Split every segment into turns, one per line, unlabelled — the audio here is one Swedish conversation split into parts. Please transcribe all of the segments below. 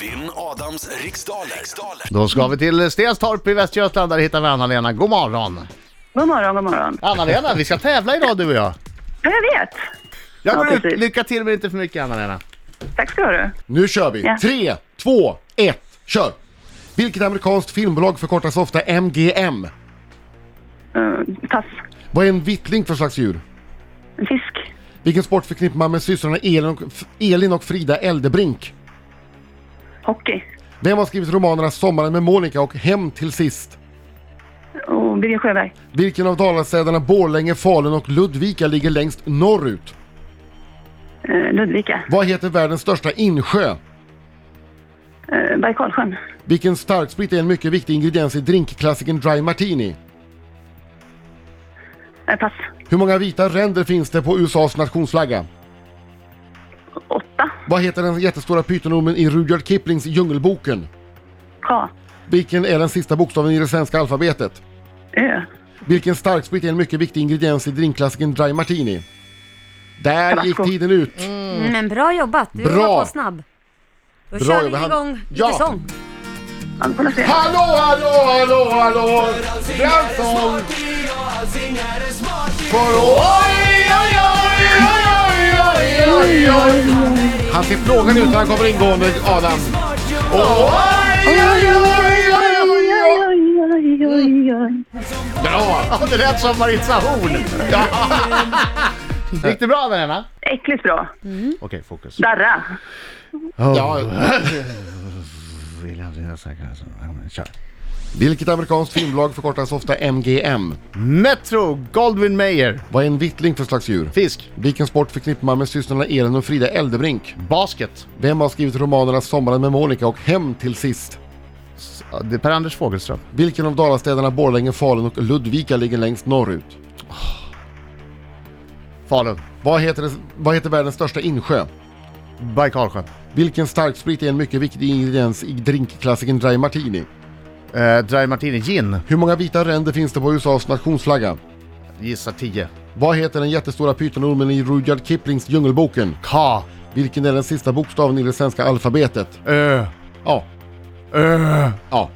Vinn Adams riksdaler. riksdaler.
Då ska vi till Stenstorp i Västergötland, där hittar vi Anna-Lena. God morgon!
God morgon, god morgon.
Anna-Lena, vi ska tävla idag du och jag.
Ja, jag vet.
Jag går
Ja,
ut.
precis.
Lycka till men inte för mycket Anna-Lena.
Tack ska du ha.
Nu kör vi!
Ja.
Tre, två, ett, kör! Vilket amerikanskt filmbolag förkortas ofta MGM?
Eh, pass.
Vad är en vitling för slags djur?
En fisk.
Vilken sport förknippar man med systrarna Elin och, Elin och Frida Eldebrink?
Hockey.
Vem har skrivit romanerna Sommaren med Monica och Hem till sist?
Och Birger Sjöberg.
Vilken av Dalastäderna Borlänge, Falun och Ludvika ligger längst norrut?
Eh, Ludvika.
Vad heter världens största insjö?
Eh, Bajkalsjön.
Vilken starksprit är en mycket viktig ingrediens i drinkklassikern Dry Martini?
Eh, pass.
Hur många vita ränder finns det på USAs nationsflagga?
Åtta.
Vad heter den jättestora pytonormen i Rudyard Kiplings Djungelboken?
K.
Vilken är den sista bokstaven i det svenska alfabetet?
Ö.
Vilken starksprit är en mycket viktig ingrediens i drinkklassikern Dry Martini? Där gick tiden ut.
Men bra jobbat, du
Mm. Bra.
var på snabb. Då
Bra
kör vi
jobbat.
igång lite
Ja.
sång.
Ja, vi får se.
Hallå, hallå, hallå, hallå! Svensson! För oj, oj, oj, oj, oj, oj, oj! Han ser plågad ut när han kommer ingående, Adam. Oj, oj, oj, oj, oj, oj!
Oj, oj, oj, oj.
Bra!
Ja, det lät som Maritza Horn. Gick det bra Anna-Lena?
Äckligt bra.
Okej, fokus.
Darra.
Ja.
Kör.
Vilket amerikanskt filmbolag förkortas ofta MGM?
Metro Goldwyn Mayer.
Vad är en vitling för slags djur?
Fisk.
Vilken sport förknippar man med systrarna Elin och Frida Eldebrink?
Basket.
Vem har skrivit romanerna Sommaren med Monica och Hem till sist?
Ja, Det är Per-Anders Fogelström.
Vilken av Dalastäderna Borlänge, Falun och Ludvika ligger längst norrut?
Falun.
Vad heter, det, vad heter världens största insjö?
Bajkalsjön.
Vilken starksprit är en mycket viktig ingrediens i drinkklassikern Dry Martini?
Eh, Dry Martini Gin.
Hur många vita ränder finns det på USAs nationsflagga?
Gissa 10.
Vad heter den jättestora pytonormen i Rudyard Kiplings Djungelboken?
K.
Vilken är den sista bokstaven i det svenska alfabetet?
Ö.
Ja.
Ö.
ja.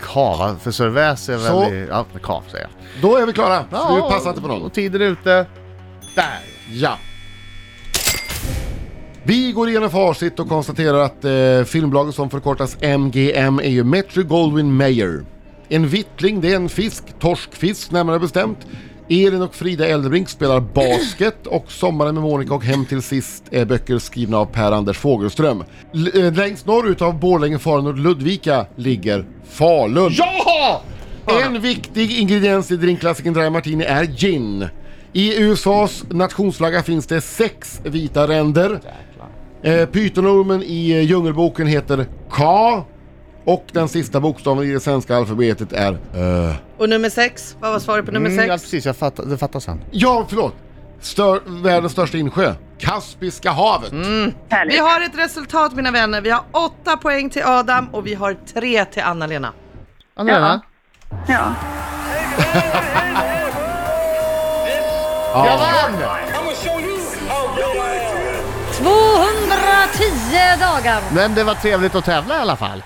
K, va? för serväs är
Så.
väl... i- Ja, K säger jag.
Då är vi klara!
Ja,
Nu passar inte på någon.
Och tiden är ute. Där!
Ja. Vi går igenom facit och konstaterar att eh, filmbolaget som förkortas MGM är ju Metro Goldwyn Mayer. En vittling, det är en fisk, torskfisk närmare bestämt. Elin och Frida Eldebrink spelar basket och Sommaren med Monica och Hem till sist är böcker skrivna av Per-Anders Fogelström. L- eh, längst norrut av Borlänge, Falun och Ludvika ligger Falun.
Ja!
En viktig ingrediens i drinkklassikern Dry Martini är gin. I USAs nationsflagga finns det sex vita ränder. Eh, Pytonormen i eh, Djungelboken heter K. Och den sista bokstaven i det svenska alfabetet är Ö.
Och nummer sex, vad var svaret på nummer
Mm, ja,
sex?
precis. Jag fattar, det fattar sen.
Ja, förlåt! Stör, världens största insjö. Kaspiska havet.
Mm.
Härligt.
Vi har ett resultat mina vänner. Vi har åtta poäng till Adam och vi har tre till Anna-Lena.
Anna-Lena?
Ja.
Jag vann!
210 dagar.
Men det var trevligt att tävla i alla fall.